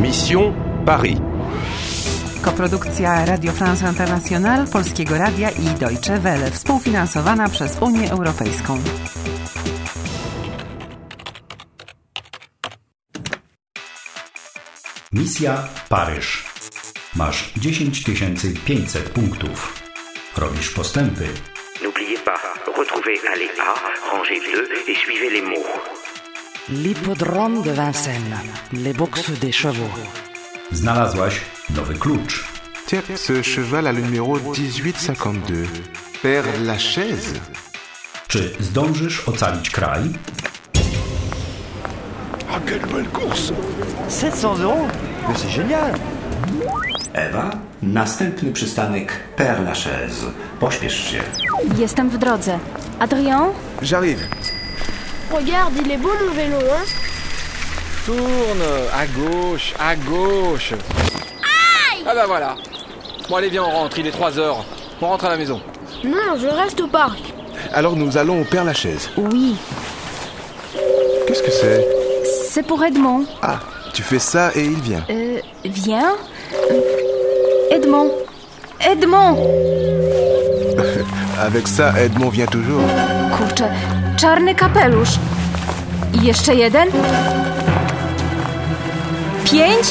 Mission Paris. Koprodukcja Radio France International, Polskiego Radia i Deutsche Welle, współfinansowana przez Unię Europejską. Misja Paryż. Masz 10500 punktów. Robisz postępy. N'oubliez pas, retrouvez allée A, rangée 2 et suivez les mots. L'hippodrome de Vincennes. Les boxes des chevaux. Znalazłaś nowy klucz. Tiens, ce cheval a le numéro 1852. Père Lachaise Czy zdążysz ocalić kraj? Ah, quelle belle course 700 euros Mais c'est génial Ewa, następny przystanek Père Lachaise. Pośpiesz się. Jestem w drodze. Adrien J'arrive. Regarde, il est beau mon vélo, hein Tourne à gauche, à gauche. ah bah voilà. Bon allez viens on rentre, il est 3h. On rentre à la maison. Non, je reste au parc. Alors nous allons au Père Lachaise. Oui, Qu'est-ce que c'est c'est pour Edmond. Ah, tu fais ça et il vient. Euh, viens. Euh, Edmond. Edmond Avec ça, Edmond vient toujours. Kurczę, czarny kapelusz. I jeszcze jeden. Pięć.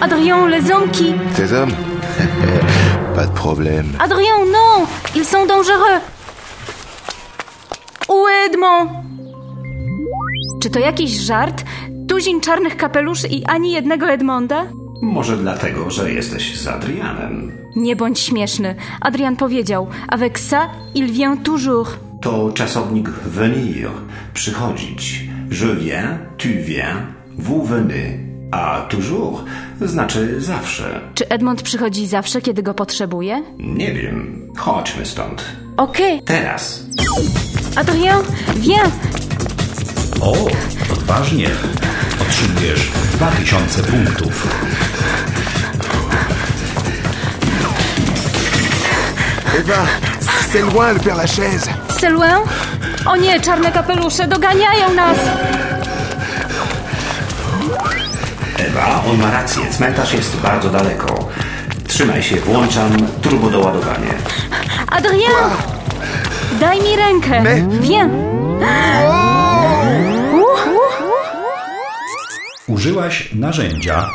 Adrien, les hommes Tes hommes Pas de problème. Adrien, non Ils sont dangereux Où est Edmond Czy to jakiś żart? Tuzin czarnych kapelusz i ani jednego Edmonda? Może dlatego, że jesteś z Adrianem. Nie bądź śmieszny. Adrian powiedział, avec ça, il vient toujours. To czasownik venir, przychodzić. Je viens, tu viens, vous venez. A toujours znaczy zawsze. Czy Edmond przychodzi zawsze, kiedy go potrzebuje? Nie wiem. Chodźmy stąd. Okej, Teraz. Adrien, viens O, odważnie. Otrzymujesz 2000 punktów. Eva, c'est loin le Père Lachaise. C'est loin? O nie, czarne kapelusze doganiają nas! Ewa, on ma rację. Cmentarz jest bardzo daleko. Trzymaj się, włączam turbo doładowanie. Adrien! Daj mi rękę! Viens! Uh, uh. Użyłaś narzędzia.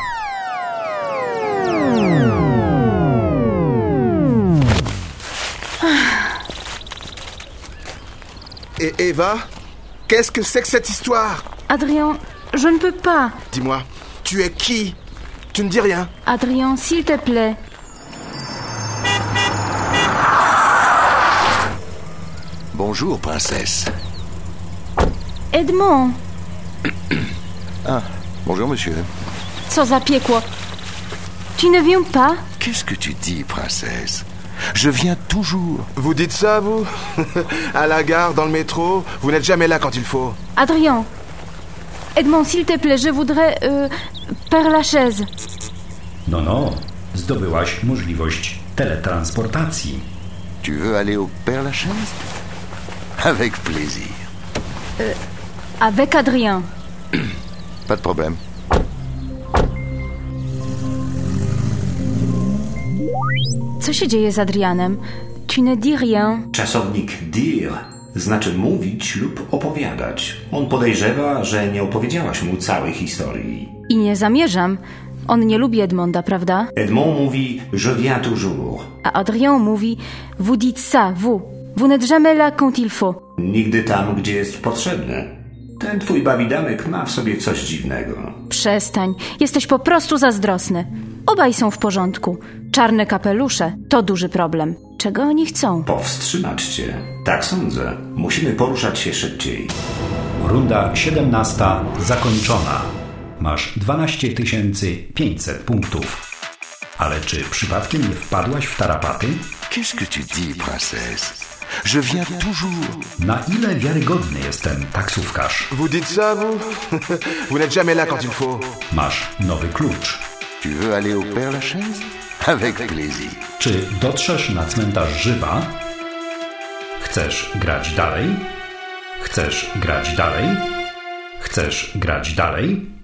Et Eva, qu'est-ce que c'est que cette histoire Adrien, je ne peux pas. Dis-moi, tu es qui Tu ne dis rien. Adrien, s'il te plaît. Bonjour, princesse. Edmond, Bonjour, monsieur. co za piekło. Tu ne viens pas? Qu'est-ce que tu dis, princesse Je viens toujours. Vous dites ça, vous À la gare, dans le métro, vous n'êtes jamais là quand il faut. Adrien. Edmond, s'il te plaît, je voudrais... Euh, Père Lachaise. No, no, zdobyłaś możliwość teletransportacji. Tu veux aller au Père Lachaise Avec plaisir. Avec Adrien. Pas de problème. Co się dzieje z Adrianem? Tu ne dis rien. Czasownik dir znaczy mówić lub opowiadać. On podejrzewa, że nie opowiedziałaś mu całej historii. I nie zamierzam. On nie lubi Edmonda, prawda? Edmond mówi, je viens toujours. A Adrien mówi, vous dites ça, vous. Vous n'êtes jamais là quand il faut. Nigdy tam, gdzie jest potrzebny. Ten twój bawidamek ma w sobie coś dziwnego. Przestań, jesteś po prostu zazdrosny. Obaj są w porządku. Czarne kapelusze to duży problem. Czego oni chcą? Powstrzymać cię. Tak sądzę. Musimy poruszać się szybciej. Runda 17 zakończona. Masz 12 500 punktów. Ale czy przypadkiem nie wpadłaś w tarapaty? Qu'est-ce que tu dis, princesse Je viens toujours. Na ile wiarygodny jest ten taksówkarz? Vous dites ça, vous Vous n'êtes jamais là quand il faut. Masz nowy klucz. Tu veux aller au Père Lachaise Avec plaisir. Czy dotrzesz na cmentarz żywa? Chcesz grać dalej? Chcesz grać dalej? Chcesz grać dalej?